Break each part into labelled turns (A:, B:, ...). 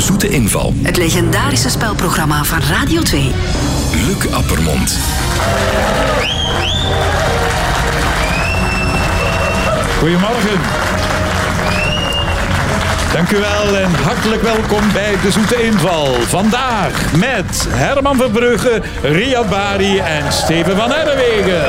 A: Zoete Inval.
B: Het legendarische spelprogramma van Radio 2.
A: Luc Appermond.
C: Goedemorgen. Dank u wel en hartelijk welkom bij De Zoete Inval. Vandaag met Herman Verbrugge, Riyad Bari en Steven van Herrewegen.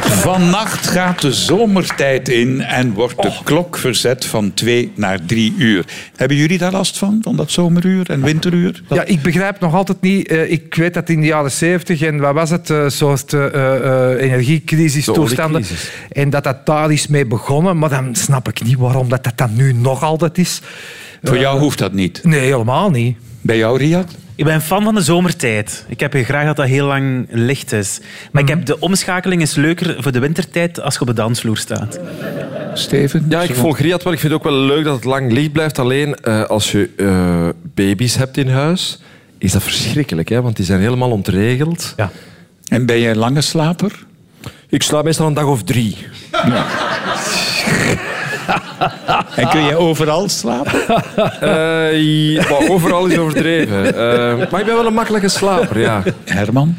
C: Vannacht gaat de zomertijd in en wordt
D: Oh.
C: de klok verzet van twee naar drie uur. Hebben jullie daar last van, van dat zomeruur en winteruur?
E: Ja, ik begrijp nog altijd niet. eh, ik weet dat in de jaren zeventig en wat was het, eh, soort eh, eh, eh, energiecrisis,
F: De
E: toestanden.
F: oliecrisis.
E: En dat dat daar is mee begonnen. Maar dan snap ik niet waarom dat, dat dan nu nog altijd is.
C: Voor jou hoeft dat niet.
E: Nee, helemaal niet.
C: Bij jou, Riyad?
F: Ik ben fan van de zomertijd. Ik heb graag dat dat heel lang licht is. Maar ik heb de omschakeling is leuker voor de wintertijd als je op de dansvloer staat.
C: Steven?
D: Ja, ik volg Riyad wel. Ik vind het ook wel leuk dat het lang licht blijft. Alleen eh, als je eh, baby's hebt in huis, is dat verschrikkelijk. Hè? Want die zijn helemaal ontregeld.
E: Ja.
C: En ben jij een lange slaper?
D: Ik slaap meestal een dag of drie.
C: En kun
D: Ah.
C: je overal slapen?
D: Eh, ja, maar overal is overdreven. Eh, maar ik ben wel een makkelijke slaper, ja.
C: Herman?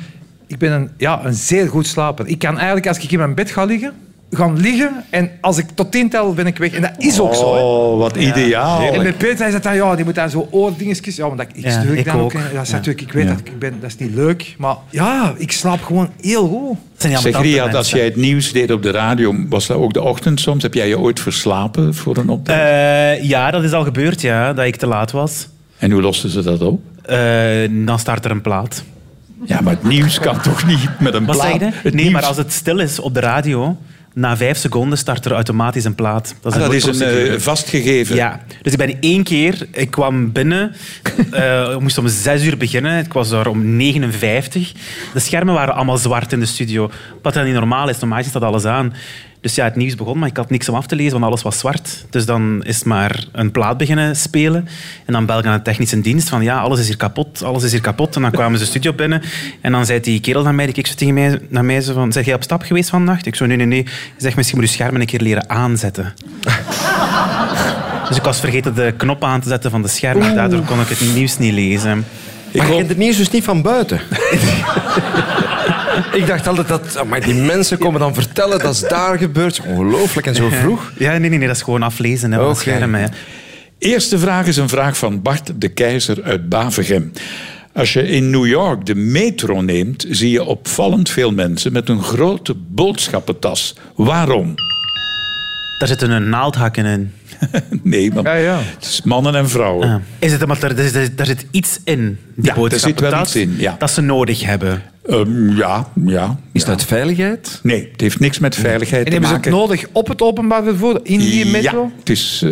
E: Ik ben een, ja, een zeer goed slaper. Ik kan eigenlijk, als ik in mijn bed ga liggen, gaan liggen en als ik tot tien tel, ben ik weg. En dat is ook zo. hè.
C: Oh, wat ideaal.
E: En met Peter hij zegt dan, ja, die moet dan zo oordingetjes... Ja, want dat- ik
F: Ja,
E: sturk
F: ik
E: dan ook.
F: ook.
E: en Dat is
F: Ja.
E: natuurlijk, ik weet
C: Ja.
E: dat ik ben, dat is niet leuk. Maar ja, ik slaap gewoon heel goed.
F: Het zijn
C: Zeg
F: ambetante
C: Riyad, als
F: mensen.
C: jij het nieuws deed op de radio, was dat ook de ochtend soms? Heb jij je ooit verslapen voor een opdracht?
F: Eh, ja, dat is al gebeurd, ja, dat ik te laat was.
C: En hoe losten ze dat op?
F: Eh, dan start er een plaat.
C: Ja, maar het nieuws kan toch niet met een
F: Wat
C: plaat?
F: zei je?
C: Het
F: nee,
C: nieuws-
F: maar als het stil is op de radio, na vijf seconden start er automatisch een plaat. Dat
C: Ah,
F: is een,
C: dat is een
F: voorprocedure.
C: eh, vastgegeven.
F: Ja, dus ik ben één keer, ik kwam binnen, eh, ik moest om zes uur beginnen, ik was daar om 59. De schermen waren allemaal zwart in de studio, wat dan niet normaal is, normaal staat alles aan. Dus ja, het nieuws begon, maar ik had niks om af te lezen, want alles was zwart. Dus dan is het maar een plaat beginnen spelen. En dan bel ik aan de technische dienst van ja, alles is hier kapot, alles is hier kapot. En dan kwamen ze de studio binnen en dan zei die kerel naar mij, die keek zo tegen mij, naar mij zo van, zeg jij op stap geweest vannacht? Ik zo, nee, nee, nee. Hij zegt, misschien moet je schermen een keer leren aanzetten. Dus ik was vergeten de knop aan te zetten van de scherm. Daardoor kon ik het nieuws niet lezen.
D: Maar je kent het nieuws dus niet van buiten. ik dacht altijd dat... oh, Maar die mensen komen dan vertellen dat is daar gebeurd. Ongelooflijk, en zo vroeg.
F: Ja, nee, nee, nee dat is gewoon aflezen hè, van het
D: Oké.
F: scherm. Hè.
C: Eerste vraag is een vraag van Bart de Keizer uit Bavegem. Als je in New York de metro neemt, zie je opvallend veel mensen met een grote boodschappentas. Waarom?
F: Daar zitten een naaldhakken in.
C: Nee, want
E: Ja, ja.
C: het is mannen en vrouwen.
F: Ah. Is het, omdat er, er zit- daar zit iets in, die
C: Ja, daar zit wel
F: boodschappentas,
C: iets in, ja.
F: dat ze nodig hebben.
C: Ehm, ja, ja.
D: Is dat veiligheid?
C: Nee, het heeft niks met veiligheid
E: En
C: te
E: hebben ze
C: maken.
E: het nodig op het openbaar vervoer, in die metro?
C: Ja, het is eh,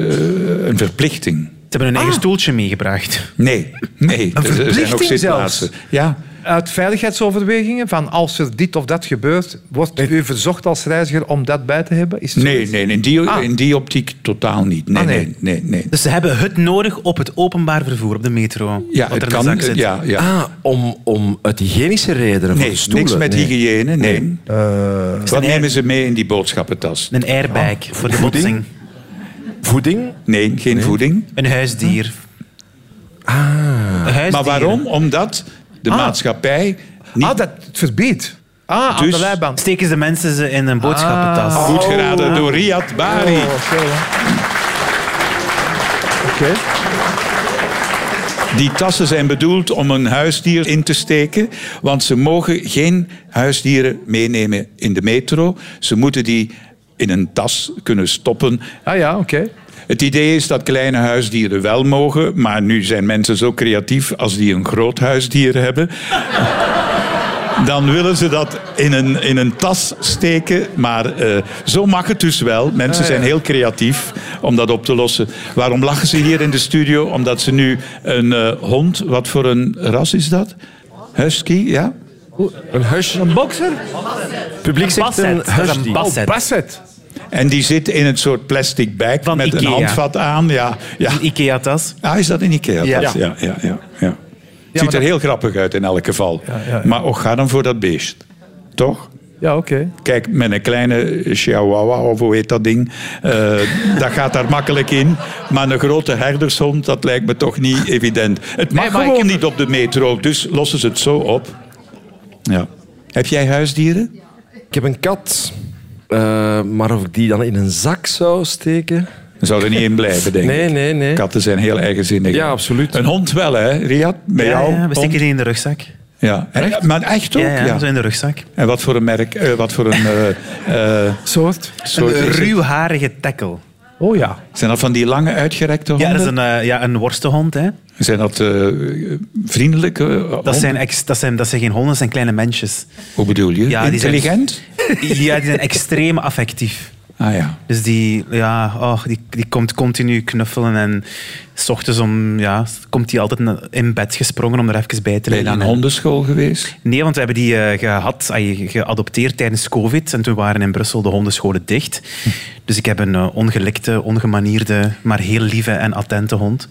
C: een verplichting.
F: Ze hebben hun eigen
C: Ah.
F: stoeltje meegebracht.
C: Nee, nee. er zijn ook
E: verplichting
C: zitplaatsen.
E: zelfs?
C: Ja,
E: Uit veiligheidsoverwegingen, van als er dit of dat gebeurt, wordt u verzocht als reiziger om dat bij te hebben? Is het
C: nee,
E: zoiets?
C: nee, in die,
E: Ah.
C: in die optiek totaal niet. Nee,
E: Ah, nee.
C: nee, nee, nee.
F: Dus ze hebben het nodig op het openbaar vervoer, op de metro.
C: Ja, het
F: wat er in de
C: kan.
F: zak
C: eh,
F: zit.
C: Ja, ja.
D: Ah, om, om uit hygiënische redenen van
C: nee,
D: de stoelen.
C: niks met
D: Nee.
C: hygiëne, nee.
F: Is
C: Wat
F: het een, air-
C: nemen ze mee in die boodschappentas?
F: een airbag
C: Oh,
F: voor de
D: Voeding?
F: botsing.
D: Voeding?
C: Nee, geen voeding.
F: Een huisdier. Ah.
C: Maar waarom? Omdat de maatschappij niet
E: Ah, dat het verbiedt. Ah, aan
C: Dus-
E: de leiband.
F: Steken ze mensen ze in een boodschappentas?
C: goed geraden door Riyad Bari.
E: Oh, oké, ja. Oké.
C: Die tassen zijn bedoeld om een huisdier in te steken, want ze mogen geen huisdieren meenemen in de metro. Ze moeten die in een tas kunnen stoppen.
E: Ah ja, oké.
C: Het idee is dat kleine huisdieren wel mogen, maar nu zijn mensen zo creatief als die een groot huisdier hebben. Dan willen ze dat in een, in een tas steken. Maar eh, zo mag het dus wel. Mensen
F: Ah,
C: zijn heel creatief om dat op te lossen. Waarom lachen ze hier in de studio? Omdat ze nu een eh, hond... Wat voor een ras is dat? Husky, ja?
D: Een huis.
E: Een bokser?
D: Het publiek zegt
F: basset.
D: een
F: Dat is een
D: huisdier.
F: basset.
E: Oh, Basset.
C: En die zit in een soort plastic bag
F: Van
C: met een
F: Ikea.
C: handvat aan. Ja, ja.
F: Een Ikea-tas.
C: Ah, is dat in Ikea?
F: Ja.
C: Dat- ja, ja, ja, ja. Ziet er
E: dat-
C: heel grappig uit in elk geval.
E: ja, ja.
C: Maar ook ga dan voor dat beest. Toch?
G: Ja, oké.
C: Kijk, met een kleine chihuahua, of hoe heet dat ding, eh, dat gaat daar makkelijk in. Maar een grote herdershond, dat lijkt me toch niet evident. Het mag
E: Nee, maar ik
C: gewoon
E: heb-
C: niet op de metro, dus lossen ze het zo op. Ja. Heb jij huisdieren?
D: Ik heb een kat, eh, maar of ik die dan in een zak zou steken?
C: Dan zou er niet in blijven, denk ik.
D: Nee, nee, nee.
C: Katten zijn heel eigenzinnig.
D: Ja, absoluut.
C: Een hond wel, hè, Riyad? Bij
F: Ja,
C: jou?
F: ja, we steken
C: hond?
F: die in de rugzak.
C: ja. Echt? Maar echt ook?
F: Ja, ja,
C: Ja.
F: Zo in de rugzak.
C: En wat voor een merk, eh, wat voor een eh, eh,
G: Soort.
C: soort
F: een
C: is het?
F: ruwharige tackle.
G: Oh ja.
C: Zijn dat van die lange uitgerekte honden?
F: Ja, dat is een, eh, ja, een worstenhond. Hè.
C: Zijn dat eh, vriendelijke eh,
F: Dat,
C: honden?
F: zijn ex, dat, zijn, dat zijn geen honden, dat zijn kleine mensjes.
C: Hoe bedoel je?
F: Ja, die zijn-
C: Intelligent?
F: Ja, die zijn extreem affectief.
C: Ah ja.
F: Dus die, ja, oh, die, die komt continu knuffelen en s ochtends om, ja, komt die altijd na- in bed gesprongen om er even bij
C: Ben je
F: te liggen.
C: naar een
F: En-
C: hondenschool geweest?
F: Nee, want we hebben die eh, gehad, ah, je- geadopteerd tijdens COVID. En toen waren in Brussel de hondenscholen dicht. Dus ik heb een eh, ongelikte, ongemanierde, maar heel lieve en attente hond.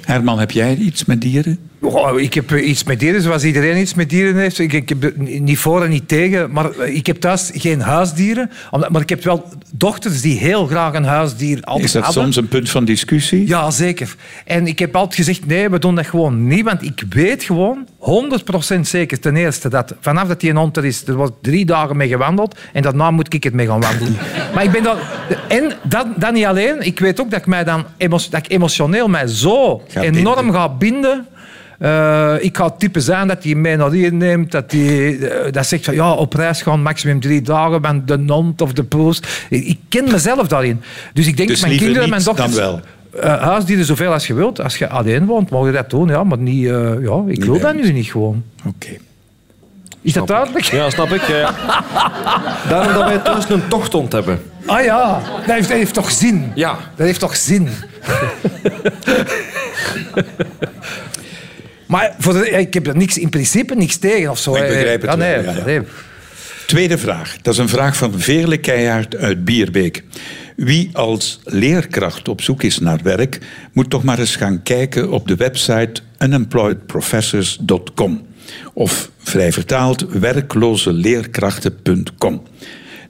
C: Herman, heb jij iets met dieren?
E: Oh, ik heb eh, iets met dieren, zoals iedereen iets met dieren heeft. Ik, ik heb er ni- niet voor en niet tegen, maar eh, ik heb thuis geen huisdieren. Omdat- Maar ik heb wel dochters die heel graag een huisdier altijd
C: Is dat
E: hadden.
C: soms een punt van discussie?
E: Ja, zeker. En ik heb altijd gezegd, nee, we doen dat gewoon niet. Want ik weet gewoon, 100% zeker, ten eerste, dat vanaf dat die een hond er is, er wordt drie dagen mee gewandeld en daarna moet ik het mee gaan wandelen. maar ik ben dan... En dat, dat niet alleen. Ik weet ook dat ik, mij dan emo- dat ik emotioneel mij zo
C: Gaat
E: enorm
C: binden.
E: ga binden... Eh, ik ga het type zijn dat hij mij naar hier neemt, dat hij eh, dat zegt van ja, op reis gaan maximum drie dagen, want de hond of de poes. Ik, ik ken mezelf daarin. Dus ik denk,
C: Dus
E: mijn
C: liever
E: kinderen en mijn
C: niet
E: dochters...
C: dan wel.
E: Eh, huisdieren zoveel als je wilt. Als je alleen woont, mag je dat doen. Ja, maar niet, eh, ja, ik wil
C: bij
E: dat
C: ons.
E: nu niet gewoon.
C: Oké.
E: Is dat duidelijk?
D: Ja, snap ik. ja. Daarom dat wij thuis een tochthond hebben.
E: Ah ja, dat heeft, dat heeft toch zin?
D: Ja.
E: Dat heeft toch zin? maar voor de- ik heb er niks, in principe niks tegen of zo.
C: Ik
E: hè.
C: begrijp het
E: Ah, nee,
C: wel, ja, ja.
E: nee.
C: Tweede vraag. Dat is een vraag van Veerle Keijaard uit Bierbeek. Wie als leerkracht op zoek is naar werk, moet toch maar eens gaan kijken op de website unemployedprofessors.com of vrij vertaald werklozeleerkrachten.com.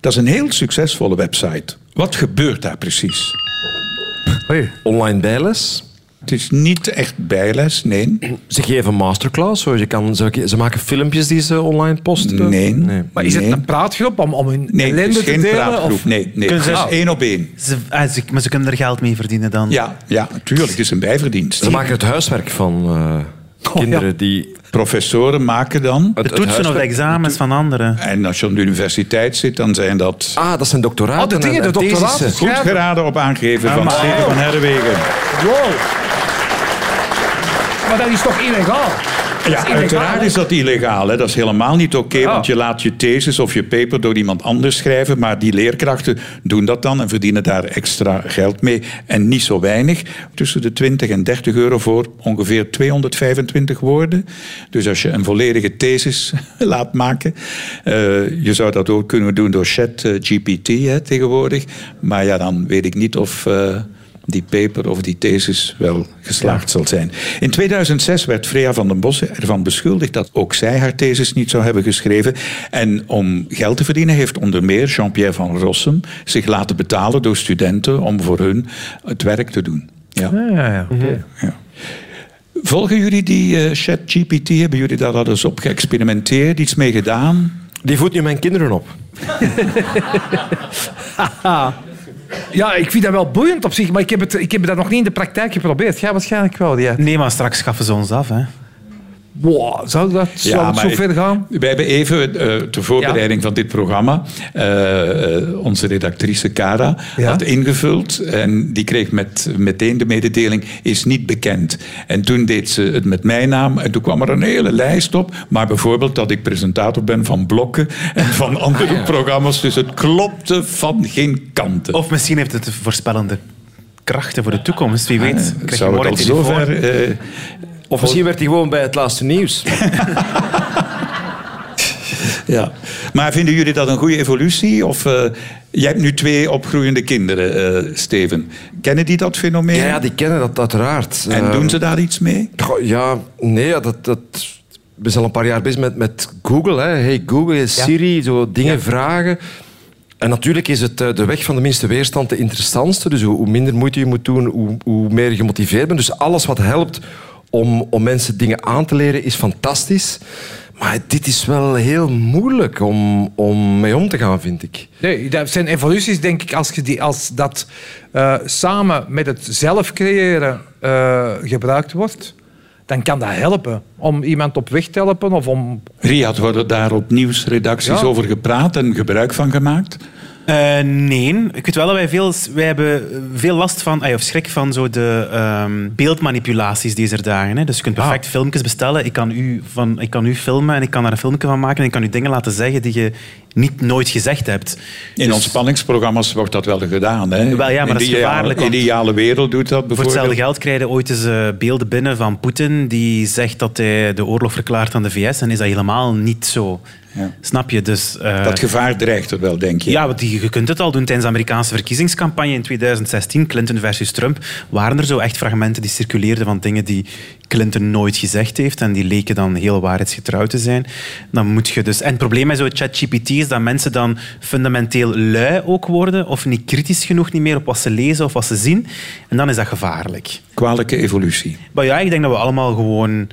C: Dat is een heel succesvolle website. Wat gebeurt daar precies?
E: Oei.
D: Online bijles.
C: Het is niet echt bijles, nee.
D: Ze geven masterclass. hoor. Je kan, ze, ze maken filmpjes die ze online posten.
C: Nee.
E: Maar is
C: Nee.
E: het een praatgroep om, om hun
C: Nee, het
E: ellende
C: is
E: te
C: geen
E: delen?
C: praatgroep.
E: of-
C: Nee, nee. Ah.
F: Kunnen
C: Het
F: ze-
C: is één op één.
F: Ze, ah, ze- maar ze kunnen er geld mee verdienen dan.
C: Ja, ja, natuurlijk. Het is een bijverdienst.
D: Ze maken het huiswerk van eh,
E: Oh, ja.
D: kinderen die...
C: Professoren maken dan.
F: De toetsen of de examens van anderen.
C: En als je op de universiteit zit, dan zijn dat
D: Ah, dat zijn doctoraten.
E: Oh, de dingen,
D: en- en
E: de
D: thesissen.
C: goed
E: doctoraten. schrijven.
C: geraden op aangeven van Steven van Herwegen.
E: Maar dat is toch illegaal? Dat
C: Ja,
E: illegaal,
C: uiteraard
E: hè?
C: is dat illegaal. Hè. Dat is helemaal niet oké, want
E: Ah.
C: je laat je thesis of je paper door iemand anders schrijven. Maar die leerkrachten doen dat dan en verdienen daar extra geld mee. En niet zo weinig. Tussen de 20 en 30 euro voor ongeveer 225 woorden. Dus als je een volledige thesis laat maken. eh, je zou dat ook kunnen doen door chat eh, GPT hè, tegenwoordig. Maar ja, dan weet ik niet of... eh, die paper of die thesis wel geslaagd zal zijn. In 2006 werd Freya van den Bossen ervan beschuldigd dat ook zij haar thesis niet zou hebben geschreven. En om geld te verdienen heeft onder meer Jean-Pierre van Rossum zich laten betalen door studenten om voor hun het werk te doen. Ja.
E: Ja, ja,
C: Mhm.
E: oké.
C: Volgen jullie die eh, ChatGPT? Hebben jullie daar al eens op geëxperimenteerd, iets mee gedaan?
D: Die voedt nu mijn kinderen op.
E: Ja, ik vind dat wel boeiend op zich, maar ik heb, het, ik heb dat nog niet in de praktijk geprobeerd. Jij waarschijnlijk wel, ja.
F: Nee, maar straks schaffen ze ons af. Hè.
E: Wow, zou dat zou het zo
C: maar
E: ver
C: ik-
E: gaan?
C: Wij hebben even, eh, ter voorbereiding van dit programma, eh, eh, onze redactrice Cara
E: Ja.
C: had ingevuld. En die kreeg met, meteen de mededeling, is niet bekend. En toen deed ze het met mijn naam. En toen kwam er een hele lijst op. Maar bijvoorbeeld dat ik presentator ben van blokken en van andere
E: Ah,
C: programma's. Dus het klopte van geen kanten.
E: Oh,
F: Of misschien heeft het voorspellende krachten voor de toekomst. Wie weet.
C: Het
F: Krijg je
C: zou het
F: morgen
C: al
F: telefoon.
C: zover... eh,
D: Of misschien werd hij gewoon bij het laatste nieuws.
C: Ja. Maar vinden jullie dat een goede evolutie? Of, eh, jij hebt nu twee opgroeiende kinderen, eh, Steven. Kennen die dat fenomeen?
D: Ja, ja, die kennen dat uiteraard.
C: En
D: Eh,
C: doen ze daar iets mee?
D: goh, Ja, nee, ja, dat... dat we zijn al een paar jaar bezig met, met Google. Hè. Hey Google, Siri, zo dingen vragen. En natuurlijk is het eh, de weg van de minste weerstand de interessantste. Dus hoe hoe minder moeite je moet doen, hoe, hoe meer je gemotiveerd bent. Dus alles wat helpt om, om mensen dingen aan te leren is fantastisch. Maar dit is wel heel moeilijk om, om mee om te gaan, vind ik.
E: Nee, dat zijn evoluties, denk ik, als, je die, als dat eh, samen met het zelf creëren eh, gebruikt wordt, dan kan dat helpen. Om iemand op weg te helpen of om...
C: Riyad, worden daar op nieuwsredacties
E: Ja.
C: over gepraat en gebruik van gemaakt?
F: Eh, nee, ik weet wel dat wij veel, wij hebben veel last van, ay, of schrik van zo de ehm, beeldmanipulaties deze dagen. Hè. Dus je
C: Ah.
F: kunt perfect filmpjes bestellen. Ik kan, u van, ik kan u filmen en ik kan daar een filmpje van maken en ik kan u dingen laten zeggen die je niet nooit gezegd hebt.
C: In
F: Dus
C: ontspanningsprogramma's wordt dat wel gedaan. Hè?
F: Wel ja, maar
C: In
F: dat is
C: de
F: gevaarlijk, want-
C: ideale wereld doet dat
F: Voor hetzelfde
C: bijvoorbeeld.
F: geld krijgen ooit eens eh, beelden binnen van Poetin die zegt dat hij de oorlog verklaart aan de VS en is dat helemaal niet zo.
C: Ja.
F: Snap je? Dus, eh,
C: Dat gevaar dreigt er wel, denk je.
F: Ja, want die- je kunt het al doen tijdens de Amerikaanse verkiezingscampagne in 2016, Clinton versus Trump, waren er zo echt fragmenten die circuleerden van dingen die Clinton nooit gezegd heeft en die leken dan heel waarheidsgetrouw te zijn. Dan moet je dus... En het probleem met zo'n ChatGPT is dat mensen dan fundamenteel lui ook worden of niet kritisch genoeg niet meer op wat ze lezen of wat ze zien. En dan is dat gevaarlijk.
C: Kwalijke evolutie.
F: Maar ja, ik denk dat we allemaal gewoon...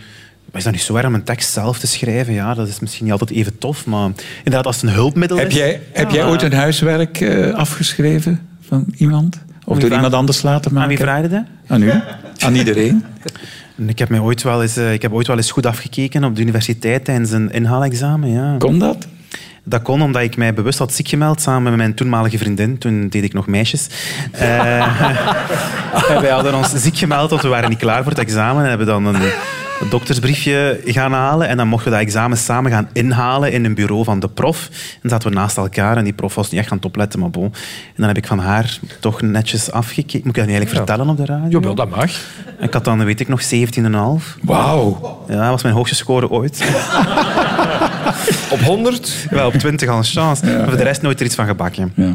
F: Is dat niet zo erg om een tekst zelf te schrijven? Ja, dat is misschien niet altijd even tof, maar inderdaad, als het een hulpmiddel
C: Heb
F: is...
C: jij, heb jij
F: Ja.
C: ooit een huiswerk eh, afgeschreven van iemand? Of door
F: vraag-
C: iemand anders laten maken?
F: Aan wie vraag je dat?
C: Aan u? Aan iedereen?
F: En Ik heb, mij ooit wel eens, eh, ik heb ooit wel eens goed afgekeken op de universiteit tijdens een inhaalexamen. Ja.
C: Kon dat?
F: Dat kon omdat ik mij bewust had ziek gemeld samen met mijn toenmalige vriendin. Toen deed ik nog meisjes. Eh, en wij hadden ons ziek gemeld, want we waren niet klaar voor het examen. En hebben dan een doktersbriefje gaan halen. En dan mochten we dat examen samen gaan inhalen in een bureau van de prof. En zaten we naast elkaar. En die prof was niet echt aan het opletten, maar bon. En dan heb ik van haar toch netjes afgekeken. Moet ik dat niet eigenlijk vertellen op de radio?
E: Jawel, dat mag.
F: Ik had dan, weet ik nog, 17,5.
C: Wauw.
F: Ja, dat was mijn hoogste score ooit.
D: Op 100?
F: Wel, op 20 al een chance. maar voor de rest nooit er iets van gebakken.
C: Ja. Mhm.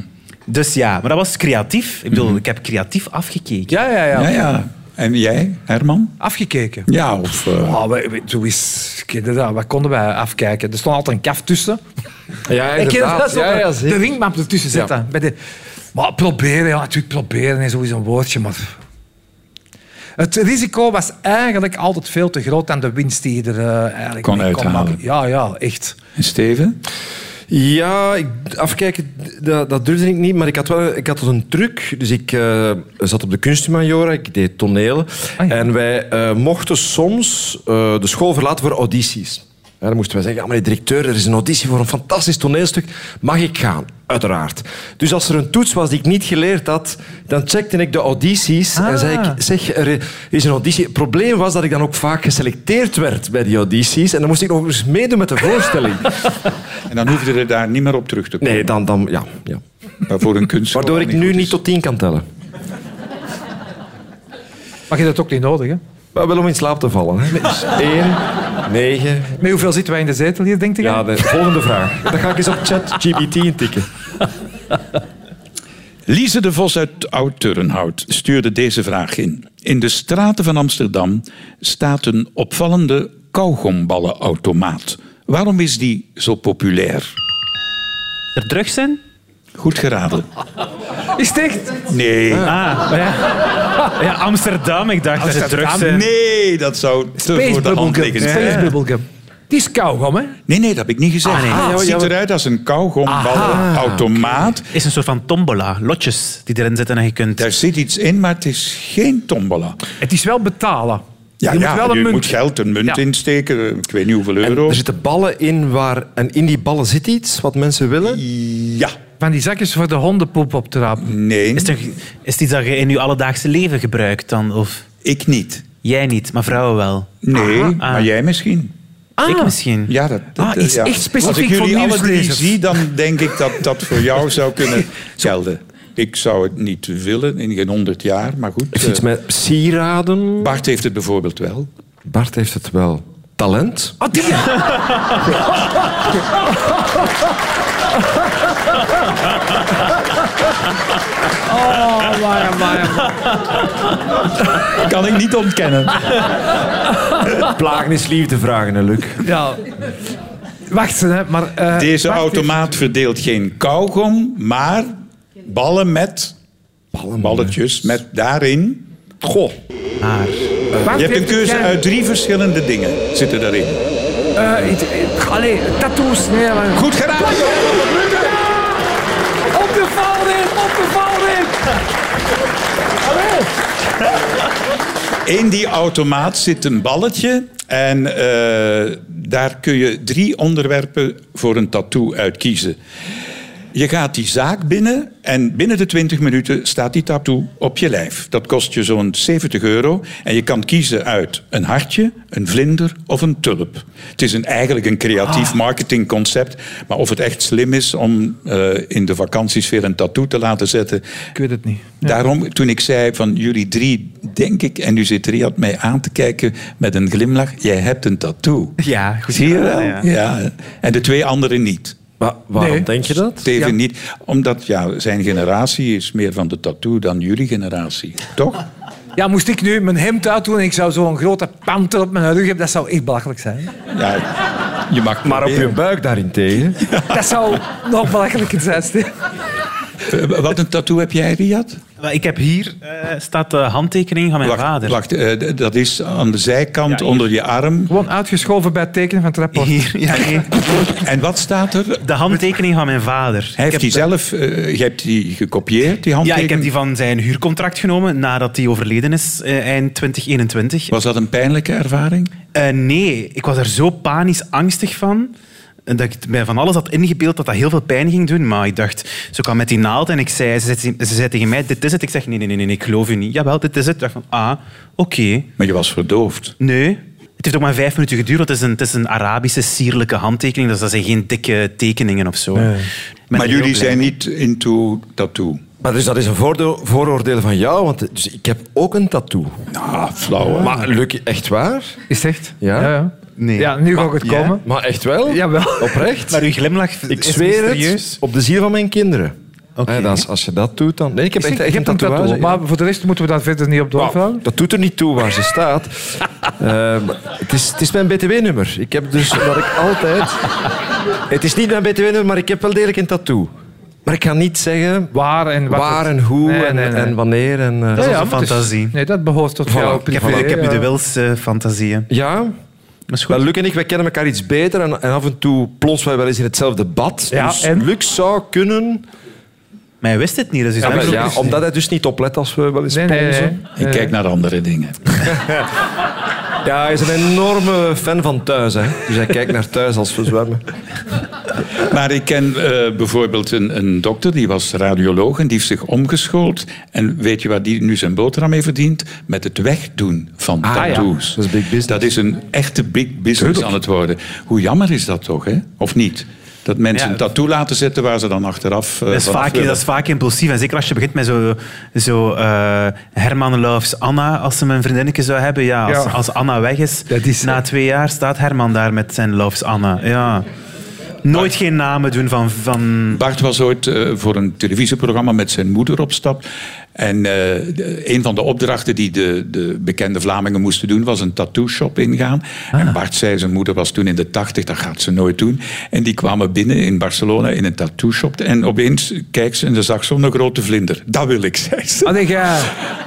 F: Dus ja, maar dat was creatief. Ik bedoel, ik heb creatief afgekeken.
E: Ja, ja, ja.
C: Ja, ja. En jij, Herman?
E: Afgekeken.
C: Ja, of... eh,
E: Oh, we, we, zo is, ik weet het wel, wat konden wij afkijken? Er stond altijd een kaf tussen.
D: Ja,
E: Ik ken
D: inderdaad.
E: dat zo,
D: Ja, ja,
E: de
D: zeker.
E: ringmap ertussen zetten. Bij de, maar proberen, ja, natuurlijk proberen is sowieso een woordje, maar... Het risico was eigenlijk altijd veel te groot aan de winst die je er eh, eigenlijk
C: Kon
E: mee
C: uithalen.
E: maken. Ja, ja, echt.
C: en Steven?
D: Ja, ik, afkijken, dat, dat durfde ik niet, maar ik had wel ik had een truc. Dus ik eh, zat op de kunstmajora, ik deed toneel.
E: Ah, ja.
D: En wij eh, mochten soms eh, de school verlaten voor audities. Ja, dan moesten wij zeggen, ja, meneer directeur, er is een auditie voor een fantastisch toneelstuk. Mag ik gaan? Uiteraard. Dus als er een toets was die ik niet geleerd had, dan checkte ik de audities en
E: Ah.
D: zei ik, zeg, er is een auditie. Het probleem was dat ik dan ook vaak geselecteerd werd bij die audities en dan moest ik nog eens meedoen met de voorstelling.
C: En dan hoefde je daar niet meer op terug te komen.
D: Nee, dan, dan ja, ja.
C: Maar voor een kunst.
D: Waardoor ik nu niet dus. tot tien kan tellen.
E: Maar je hebt dat ook niet nodig, hè?
D: Maar wel om in slaap te vallen. Hè. Dus één, negen.
E: Met hoeveel zitten wij in de zetel hier, denk ik?
D: Ja, de volgende vraag. Dan ga ik eens op chat GBT intikken.
C: Lise de Vos uit Oud-Turnhout stuurde deze vraag in. In de straten van Amsterdam staat een opvallende kauwgomballenautomaat. Waarom is die zo populair?
F: Er drugs zijn?
C: Goed geraden.
E: Is het echt?
C: Nee.
F: Ah, ja. ja, Amsterdam. Ik dacht dat er
E: Amsterdam,
F: drugs zijn.
C: Nee, dat zou te voor de hand
E: Spacebubblegum.
C: liggen. Nee,
E: Spacebubblegum. Die is kauwgom, hè?
C: nee, dat heb ik niet gezegd.
F: Ah, nee. Ah,
C: het ziet eruit als een
D: Ah.
C: kauwgomballenautomaat.
F: is een soort van tombola. Lotjes die erin zitten en je kunt...
C: Daar zit iets in, maar het is geen tombola.
E: Het is wel betalen. je moet wel een
C: je
E: munt...
C: moet geld, een munt
E: Ja.
C: insteken. Ik weet niet hoeveel euro.
D: Er zitten ballen in waar... En in die ballen zit iets wat mensen willen.
C: Ja,
E: Van die zakjes voor de hondenpoep op te rapen.
C: nee,
F: Is het, een- is het iets dat je in je alledaagse leven gebruikt dan? Of
C: ik niet.
F: jij niet, maar vrouwen wel?
C: Nee, maar
F: Ah.
C: jij misschien.
F: Ik misschien?
C: Ah. Ja, dat, dat- eh,
E: Ah, iets
C: ja.
E: echt specifiek
C: Als ik jullie
E: voor
C: alle drie
E: nieuwslezers.
C: zie, dan denk ik dat dat voor jou zou kunnen gelden. Ik zou het niet willen, in geen honderd jaar, maar goed.
D: Is iets
C: eh,
D: met sieraden.
C: Bart heeft het bijvoorbeeld wel.
D: Bart heeft het wel. Talent.
E: Ah, die ja.
D: Oh,
C: Dat kan ik niet ontkennen.
D: Plagen is liefdevragen, hè, Luc.
E: Ja. Wacht, hè, maar... eh,
C: Deze
E: wacht even.
C: automaat verdeelt geen kauwgom, maar ballen met balletjes met daarin. Goh,
E: Wacht
C: je hebt een
E: even,
C: keuze
E: jij-
C: uit drie verschillende dingen zitten daarin.
E: eh, iets- eh, allee, tattoos. Nee, maar...
C: Goed gedaan.
E: Op de valreep, op de valreep.
C: In die automaat zit een balletje en eh, daar kun je drie onderwerpen voor een tattoo uitkiezen. Je gaat die zaak binnen en binnen de 20 minuten staat die tattoo op je lijf. Dat kost je zo'n 70 euro en je kan kiezen uit een hartje, een vlinder of een tulp. Het is een, eigenlijk een creatief marketingconcept, maar of het echt slim is om eh, in de vakanties weer een tattoo te laten zetten,
E: Ik weet het niet.
C: Daarom, toen ik zei van jullie drie, denk ik, en nu zit Riyad mij aan te kijken met een glimlach, jij hebt een tattoo.
F: Ja, goed
C: Zie je wel?
F: gedaan,
C: Ja.
F: ja.
C: En de twee anderen niet.
D: Maar waarom
E: Nee.
D: denk je dat?
C: Steven
E: Ja.
C: niet, omdat ja, zijn generatie is meer van de tattoo dan jullie generatie, toch?
E: Ja, moest ik nu mijn hemd uitdoen en ik zou zo'n grote panter op mijn rug hebben, dat zou echt belachelijk zijn.
C: Ja, je mag
D: Maar op je
C: proberen.
D: buik daarentegen.
E: Dat zou nog belachelijker zijn, Steve.
C: Eh, Wat een tattoo heb jij, Riyad?
F: Maar Ik heb hier eh, staat de handtekening van mijn vader.
C: wacht eh, d- dat is aan de zijkant
F: Ja, hier.
C: onder je arm.
E: Gewoon uitgeschoven bij het tekenen van het rapport.
F: Hier, ja, nee.
C: En wat staat er?
F: De handtekening van mijn vader.
C: Hij heeft die zelf, eh, jij hebt die gekopieerd, die
F: Ja,
C: handtekening?
F: ik heb die van zijn huurcontract genomen nadat hij overleden is eh, eind 2021.
C: Was dat een pijnlijke ervaring?
F: Eh, nee, ik was er zo panisch angstig van. eh, Dat ik mij van alles had ingebeeld dat dat heel veel pijn ging doen. Maar ik dacht, ze kwam met die naald en ik zei, ze, zei, ze zei tegen mij, dit is het. Ik zeg, nee, nee, nee, nee, ik geloof u niet. Jawel, dit is het. Ik dacht van, ah, oké.
C: Maar je was verdoofd.
F: Nee. Het heeft ook maar vijf minuten geduurd. want Het is een, het is een Arabische, sierlijke handtekening. Dus dat zijn geen dikke tekeningen of zo. Ik ben er
C: maar
F: heel
C: jullie
F: blij
C: zijn
F: mee.
C: niet into tattoo.
D: Maar dus dat is een voordeel, vooroordeel van jou, want dus ik heb ook een tattoo.
C: Nou, flauw. hè?
D: Maar Luc, echt waar?
E: Is het echt?
D: Ja?
E: Ja, ja.
F: Nee.
E: Ja, nu ga ik het
F: Ja?
E: komen.
D: Maar echt wel?
E: Jawel.
D: Oprecht?
F: Maar uw glimlach
D: ik
F: is
D: zweer
F: mysterieus.
D: het op de ziel van mijn kinderen. Ja, dat is- als je dat doet, dan... Nee, ik heb echt,
E: Ik
D: echt
E: heb een tattoo,
D: tatoeage.
E: maar voor de rest moeten we daar verder niet op doorvallen.
D: Dat doet er niet toe waar ze staat. Ehm, het, is, het is mijn btw-nummer. Ik heb dus, omdat ik altijd... Het is niet mijn btw-nummer, maar ik heb wel degelijk een tattoo. Maar ik ga niet zeggen
E: Waar en wat.
D: waar
E: het-
D: en hoe
E: Nee,
D: en,
E: nee, nee.
D: en wanneer. En, eh,
F: Dat is
E: Ja,
F: onze
E: maar het is-
F: fantasie.
E: Nee, dat behoort tot jou.
D: ik heb
F: Ik heb, u- ik heb u de wilse fantasieën.
D: Ja,
F: Dat is goed.
D: wel, Luc en ik wij kennen elkaar iets beter en, en af en toe plons wij wel eens in hetzelfde bad.
E: Ja,
D: dus
E: en?
D: Luc zou kunnen...
F: Maar hij wist het niet. Dus hij
D: Ja,
F: is
D: maar
F: wel-
D: ja, omdat hij dus niet oplet als we wel eens
E: Nee, nee,
D: plonsen.
E: nee.
F: Eh.
C: Ik kijk naar andere dingen.
D: Ja, hij is een enorme fan van thuis. Hè. Dus hij kijkt naar thuis als we zwemmen.
C: Maar ik ken eh, bijvoorbeeld een, een dokter, die was radioloog en die heeft zich omgeschoold. En weet je waar die nu zijn boterham mee verdient? Met het wegdoen van
F: Ah,
C: tattoos.
D: Dat is big business.
C: Dat is een echte big business aan het worden. Hoe jammer is dat toch, hè? Of niet? Dat mensen
F: Ja.
C: een tattoo laten zetten waar ze dan achteraf... eh,
F: Dat is,
C: vanaf
F: vaak,
C: willen.
F: dat is vaak impulsief. En zeker als je begint met zo, zo eh, Herman loves Anna, als ze mijn vriendinnetje zou hebben. Ja, als,
E: Ja.
F: als Anna weg is,
E: Dat is-
F: na twee jaar staat Herman daar met zijn loves Anna. Ja. Nooit geen namen doen van... van...
C: Bart was ooit eh, voor een televisieprogramma met zijn moeder op stap. En eh, de- een van de opdrachten die de, de bekende Vlamingen moesten doen, was een tattoo shop ingaan. En Bart zei, zijn moeder was toen in de tachtig, dat gaat ze nooit doen. En die kwamen binnen in Barcelona in een tattoo shop. En opeens kijkt ze en ze zag zo'n grote vlinder. Dat wil ik, zei ze.
E: Allee, jij-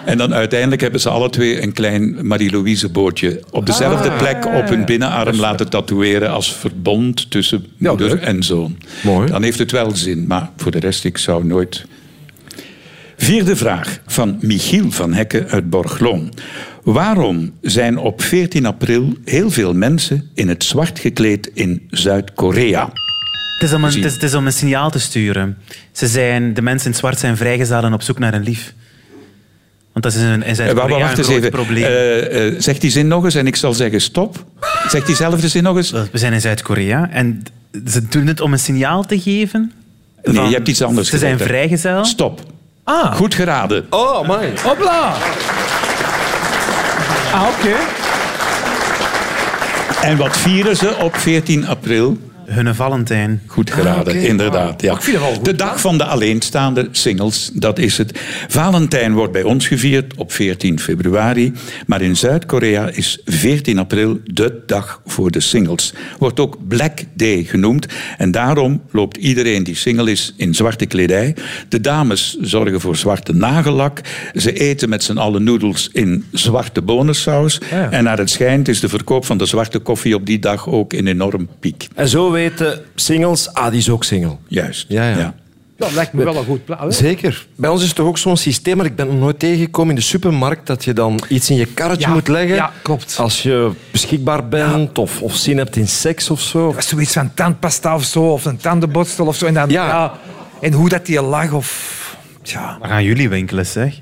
C: En dan uiteindelijk hebben ze alle twee een klein Marie-Louise bootje op dezelfde plek op hun binnenarm laten tatoeëren als verbond tussen moeder
D: leuk.
C: en zoon.
D: Mooi.
C: Dan heeft het wel zin, maar voor de rest, ik zou nooit. Vierde vraag van Michiel van Hekken uit Borgloon. Waarom zijn op 14 april heel veel mensen in het zwart gekleed in Zuid-Korea?
F: Het, is om een, het, is, het is om een signaal te sturen. Ze zijn, de mensen in het zwart zijn vrijgezel en op zoek naar een lief. Want dat is een, in
C: Eh, wa- wa-
F: Zuid-Korea een
C: wacht eens
F: groot
C: even.
F: probleem.
C: Eh, eh, zeg die zin nog eens en ik zal zeggen stop. Zeg diezelfde zin nog eens.
F: We zijn in Zuid-Korea en ze doen het om een signaal te geven.
C: Nee,
F: van-
C: je hebt iets anders
F: Ze zijn
C: gezegd, hè.
F: vrijgezel. Ah.
C: Stop. Goed geraden.
D: Oh, man.
E: Hopla! Ah, oké.
C: En wat vieren ze op 14 april?
F: Hunne Valentijn.
C: Goed geraden, inderdaad. Ja.
E: Ah, ik vind het wel goed,
C: de dag van de alleenstaande singles, dat is het. Valentijn wordt bij ons gevierd op 14 februari. Maar in Zuid-Korea is 14 april de dag voor de singles. Wordt ook Black Day genoemd. En daarom loopt iedereen die single is in zwarte kledij. De dames zorgen voor zwarte nagellak. Ze eten met z'n allen noedels in zwarte bonensaus.
E: Ah, Ja.
C: En naar het schijnt is de verkoop van de zwarte koffie op die dag ook een enorm piek.
D: En zo weten singles, ah, die is ook single.
C: Juist.
D: Ja, ja.
E: Dat lijkt me wel een goed plan.
D: Zeker. Bij ons is toch ook zo'n systeem, maar ik ben nog nooit tegengekomen in de supermarkt, dat je dan iets in je karretje
E: Ja,
D: moet leggen.
E: ja, klopt.
D: Als je beschikbaar bent of, of zin hebt in seks of zo.
E: Zoiets van tandpasta of zo, of een tandenborstel of zo. En, dan,
D: Ja.
E: ja. en hoe dat die lag of... Ja.
F: Waar gaan jullie winkelen, zeg?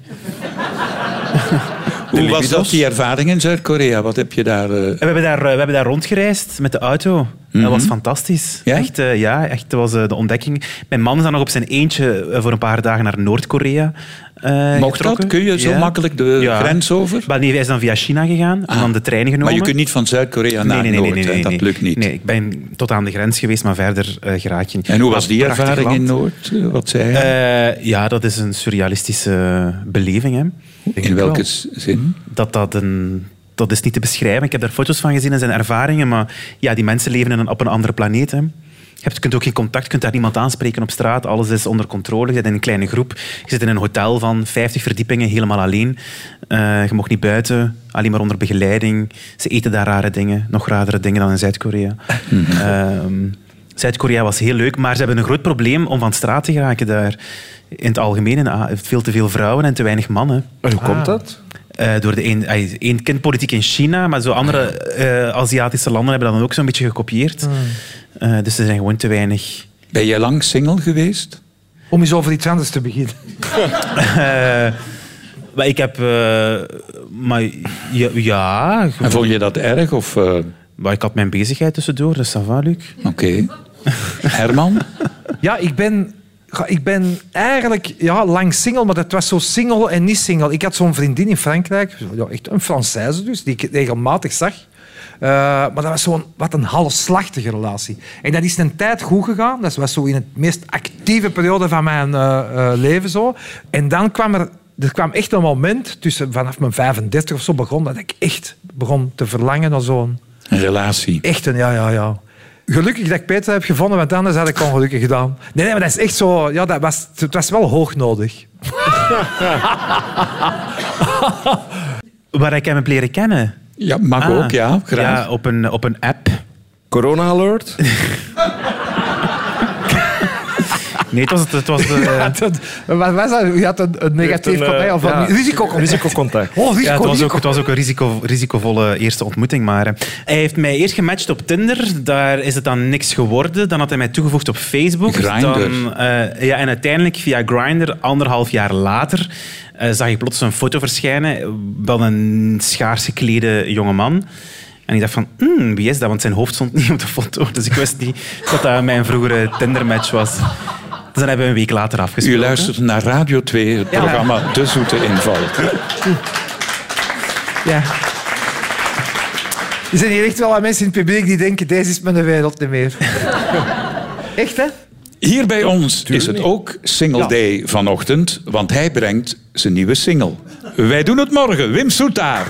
C: Hoe was
F: libido's?
C: dat, die ervaring in Zuid-Korea? Wat heb je daar... eh,
F: En We hebben, daar, eh, we hebben daar rondgereisd met de auto. Dat was fantastisch.
C: Mhm. Ja?
F: Echt, eh, ja, echt, dat was eh, de ontdekking. Mijn man is dan nog op zijn eentje eh, voor een paar dagen naar Noord-Korea eh,
C: Mocht
F: getrokken.
C: dat? Kun je zo makkelijk de grens over? Ah.
F: Maar nee, hij is dan via China gegaan en dan de trein genomen.
C: Maar je kunt niet van Zuid-Korea naar Noord, hè? dat
F: nee.
C: lukt niet.
F: Nee, ik ben tot aan de grens geweest, maar verder eh geraak je niet.
C: En hoe was
F: Maar
C: die
F: prachtig
C: ervaring
F: land.
C: in Noord? Eh, Wat zei hij?
F: Eh, ja, dat is een surrealistische beleving. Hè. Denk
C: in
F: ik wel. Hm?
C: welke s- zin?
F: dat dat een... Dat is niet te beschrijven. Ik heb daar foto's van gezien en zijn ervaringen. Maar ja, die mensen leven in een, op een andere planeet. Hè. Je hebt, kunt ook geen contact, je kunt daar niemand aanspreken op straat. Alles is onder controle. Je zit in een kleine groep. Je zit in een hotel van 50 verdiepingen, helemaal alleen. Eh, je mocht niet buiten, alleen maar onder begeleiding. Ze eten daar rare dingen, nog radere dingen dan in Zuid-Korea. Ehm, Zuid-Korea was heel leuk, maar ze hebben een groot probleem om van straat te geraken daar. In het algemeen, in A- veel te veel vrouwen en te weinig mannen.
D: En hoe komt dat?
F: Eh, door de een, ay, één kindpolitiek in China, maar zo andere
C: Ah,
F: eh, Aziatische landen hebben dat dan ook zo'n beetje gekopieerd.
C: Hmm.
F: Eh, dus er zijn gewoon te weinig.
C: Ben jij lang single geweest?
E: Om eens over iets anders te beginnen.
F: Maar ik heb... eh, maar ja, ja
C: En vond je dat erg? Of, eh, Oké.
F: maar ik had mijn bezigheid tussendoor, dus ça va, Luc.
C: Herman?
E: Ja, ik ben, ga- ik ben eigenlijk ja, lang single, maar dat was zo single en niet single. Ik had zo'n vriendin in Frankrijk, ja, echt een Française dus, die ik regelmatig zag. Eh, maar dat was zo'n wat een halfslachtige relatie. En dat is een tijd goed gegaan. Dat was zo in het meest actieve periode van mijn eh, eh, leven zo. En dan kwam er, er kwam echt een moment, tussen, vanaf mijn 35 of zo begon, dat ik echt begon te verlangen naar zo'n
C: Een relatie.
E: Echt een ja, ja, ja. Gelukkig dat ik Peter heb gevonden, want anders had ik ongelukkig gedaan. Nee, nee, maar dat is echt zo... Ja, dat was, het was wel hoog nodig.
F: Waar ik hem heb leren kennen.
C: Ja, mag
F: Ah.
C: ook, ja. Graag.
F: Ja, op een, op een app.
D: Corona alert?
F: Nee, het was... Het, het was de,
E: Dat- Wat was dat? U had een, een negatief
D: een, eh,
E: contact of een
D: ja,
E: risicocontact.
D: risicocontact.
E: Oh, risico,
F: Ja, het was ook,
E: risico.
F: het was ook een risico, risicovolle eerste ontmoeting. Maar eh, hij heeft mij eerst gematcht op Tinder. Daar is het dan niks geworden. Dan had hij mij toegevoegd op Facebook.
C: Grindr.
F: Dan, eh, ja, en uiteindelijk via Grindr, anderhalf jaar later, eh, zag ik plots een foto verschijnen eh, van een schaars geklede jongeman. En ik dacht van, hmm, wie is dat? Want zijn hoofd stond niet op de foto. Dus ik wist niet dat dat mijn vroegere Tinder-match was. Dus dan hebben we een week later afgesproken.
C: U luistert naar Radio 2, het programma De Zoete Inval.
E: Ja. Er zijn hier echt wel wat mensen in het publiek die denken, deze is mijn wereld niet meer. echt, hè?
C: Hier bij ons is het ook Single Day vanochtend, want hij brengt zijn nieuwe single. Wij doen het morgen, Wim Soetaar.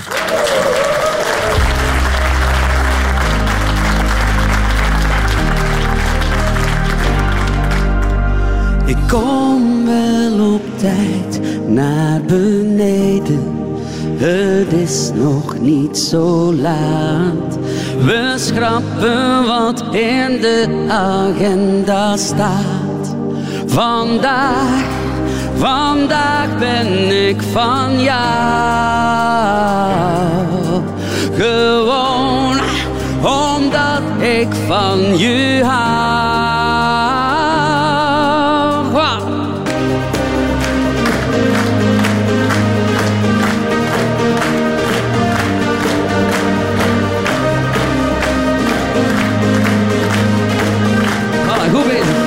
G: Ik kom wel op tijd naar beneden. Het is nog niet zo laat. We schrappen wat in de agenda staat. Vandaag, vandaag ben ik van jou. Gewoon omdat ik van je hou. Wauw. Voilà, goed bezig.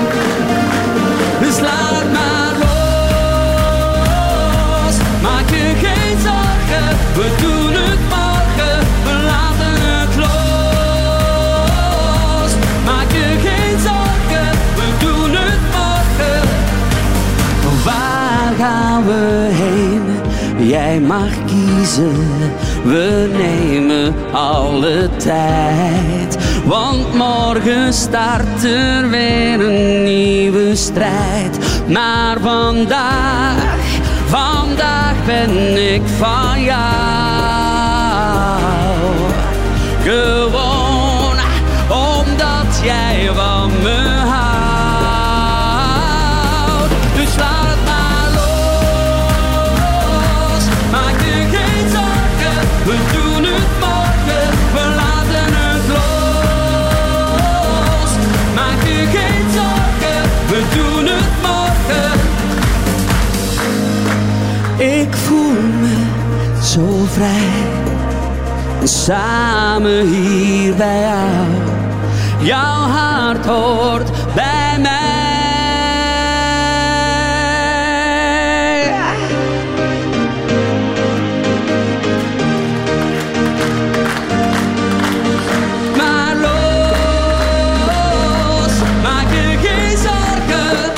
G: Dus laat maar los. Maak je geen zorgen. We doen het morgen. We laten het los. Maak je geen reizen. We nemen alle tijd, want morgen start er weer een nieuwe strijd. Maar vandaag, vandaag ben ik van jou. Gewoon omdat jij van me houdt. Dus laat het maar los. Maak je geen zorgen, we doen het morgen. We laten het los. Maak je geen zorgen, we doen het morgen. Ik voel me zo vrij samen hier bij jou. Jouw hart hoort bij mij. Maar los, maak je geen zorgen.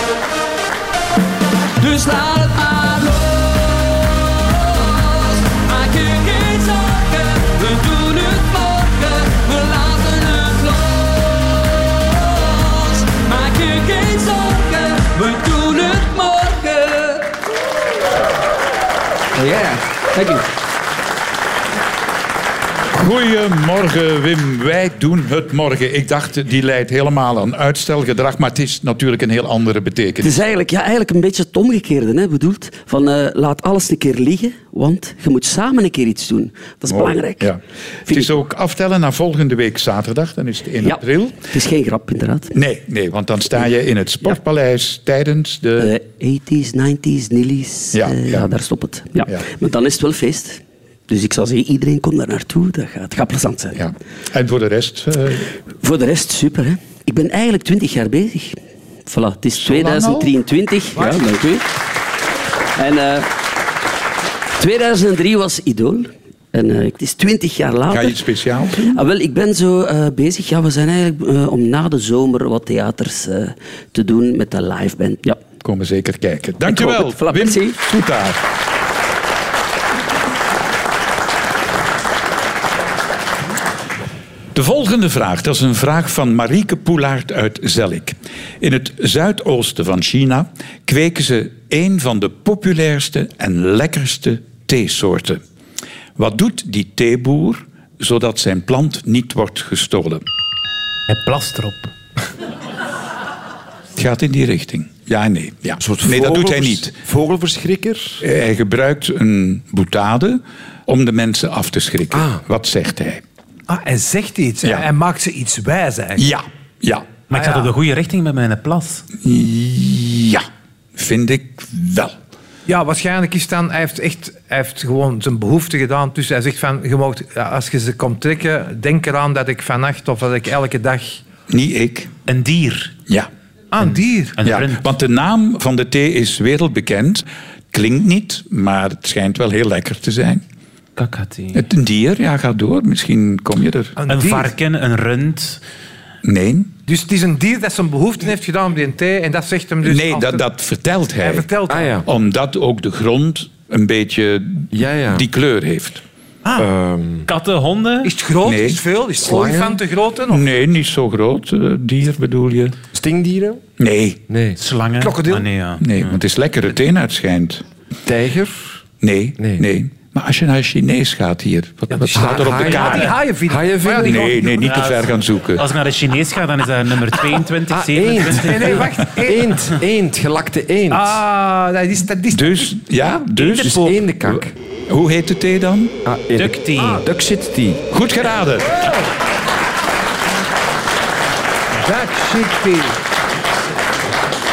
G: Dus laat het maar los. Maak je geen zorgen. We doen het morgen. We laten het los. Maak je geen zorgen. We doen het morgen. Oh
H: Yeah, thank you.
C: Goedemorgen Wim, wij doen het morgen. Ik dacht, die leidt helemaal aan uitstelgedrag, maar het is natuurlijk een heel andere
G: Het
C: betekenis.
G: is eigenlijk, ja, eigenlijk een beetje het omgekeerde. Hè, bedoeld van eh, laat alles een keer liggen, want je moet samen een keer iets doen. Dat is belangrijk.
C: Oh, Ja. Het
G: Vind
C: is
G: ik.
C: ook aftellen naar volgende week zaterdag, dan is het 1
G: Ja,
C: april.
G: Het is geen grap, inderdaad.
C: Nee, nee, want dan sta je in het Sportpaleis tijdens de...
G: Eh 80s, 90s, Nillies.
C: Ja,
G: Ja,
C: ja.
G: ja. eh, daar stopt het. Ja.
C: Ja.
G: Maar dan is het wel feest. Dus ik zou zeggen, iedereen komt daar naartoe. Dat gaat, het gaat plezant zijn.
C: Ja. En voor de rest, eh,
G: Voor de rest, super. Hè? Ik ben eigenlijk 20 jaar bezig. Voilà, het is 2023. Ja, dank u. En eh, 2003 was Idool. En eh, het is 20 jaar later.
C: ga je iets speciaals doen?
G: Ah, wel, ik ben zo eh, bezig. Ja, we zijn eigenlijk eh, om na de zomer wat theaters eh, te doen met de live band. Ja.
C: Komen zeker kijken. Dankjewel,
G: het. Voilà, merci.
C: Wim Soetaar. De volgende vraag, dat is een vraag van Marieke Poelaert uit Zellik. In het zuidoosten van China kweken ze een van de populairste en lekkerste theesoorten. Wat doet die theeboer zodat zijn plant niet wordt gestolen?
F: Hij plast erop.
C: Het gaat in die richting. Ja, nee. Ja.
D: Een soort
C: nee, dat doet hij
D: vogelvers-
C: niet.
D: Vogelverschrikker.
C: Hij gebruikt een boetade om de mensen af te schrikken. Wat zegt hij?
E: Ah, hij zegt iets.
C: Ja.
E: Hij maakt ze iets wijs eigenlijk.
C: Ja, ja,
F: Maar ik
E: Ah,
F: ga
E: ja.
F: op de goede richting met mijn plas.
C: ja. Vind ik wel.
E: Ja, waarschijnlijk is dan... Hij heeft, echt, hij heeft gewoon zijn behoefte gedaan. Dus hij zegt van, je mag, ja, als je ze komt trekken, denk eraan dat ik vannacht of dat ik elke dag...
C: Niet ik.
F: Een dier.
C: Ja.
E: Ah, een dier.
F: Een
C: ja.
F: rund.
C: Want de naam van de thee is wereldbekend. Klinkt niet, maar het schijnt wel heel lekker te zijn.
F: Kakati.
C: Het een dier, ja, ga door. Misschien kom je er.
F: Een
E: dier.
F: varken, een rund.
C: Nee.
E: Dus het is een dier dat zijn behoefte heeft gedaan op die thee. En dat zegt hem dus...
C: Nee,
E: als
C: dat,
E: het-
C: dat vertelt hij.
E: Hij vertelt
D: Ah
E: dat.
D: ja.
C: Omdat ook de grond een beetje
D: Ja, ja.
C: die kleur heeft.
F: Katten, honden.
E: Is het groot?
C: Nee.
E: Is het veel? Is het
D: Slangen?
E: olifanten groot? Of
C: Nee, niet zo groot. eh, dier bedoel je?
D: Stingdieren?
C: Nee,
D: Nee.
F: Slangen.
E: Krokodil.
F: Ah, nee, ja.
C: nee want het is lekkere teen uit schijnt.
D: Tijger?
C: Nee, nee,
D: Nee.
C: Maar als je naar Chinees gaat hier, wat, wat staat er op de
D: haaien.
E: Ja,
C: kaart?
E: die haaien vinden.
D: Haaien vinden? Oh
E: Maar ja,
C: Nee,
E: die
C: nee, niet te ver gaan zoeken.
F: Als ik naar de Chinees ga, dan is dat nummer 22,
D: Ah,
F: 27.
D: eend.
E: Nee, nee, wacht. Eén.
D: Eend, eend, gelakte eend.
E: Ah, dat is... Dat is
C: Dus, ja, dus.
D: Dus eendenkak.
C: Hoe heet de thee dan?
D: Ah,
F: Duck tea.
D: Duckshit tea.
C: Goed geraden.
E: dat shit, die.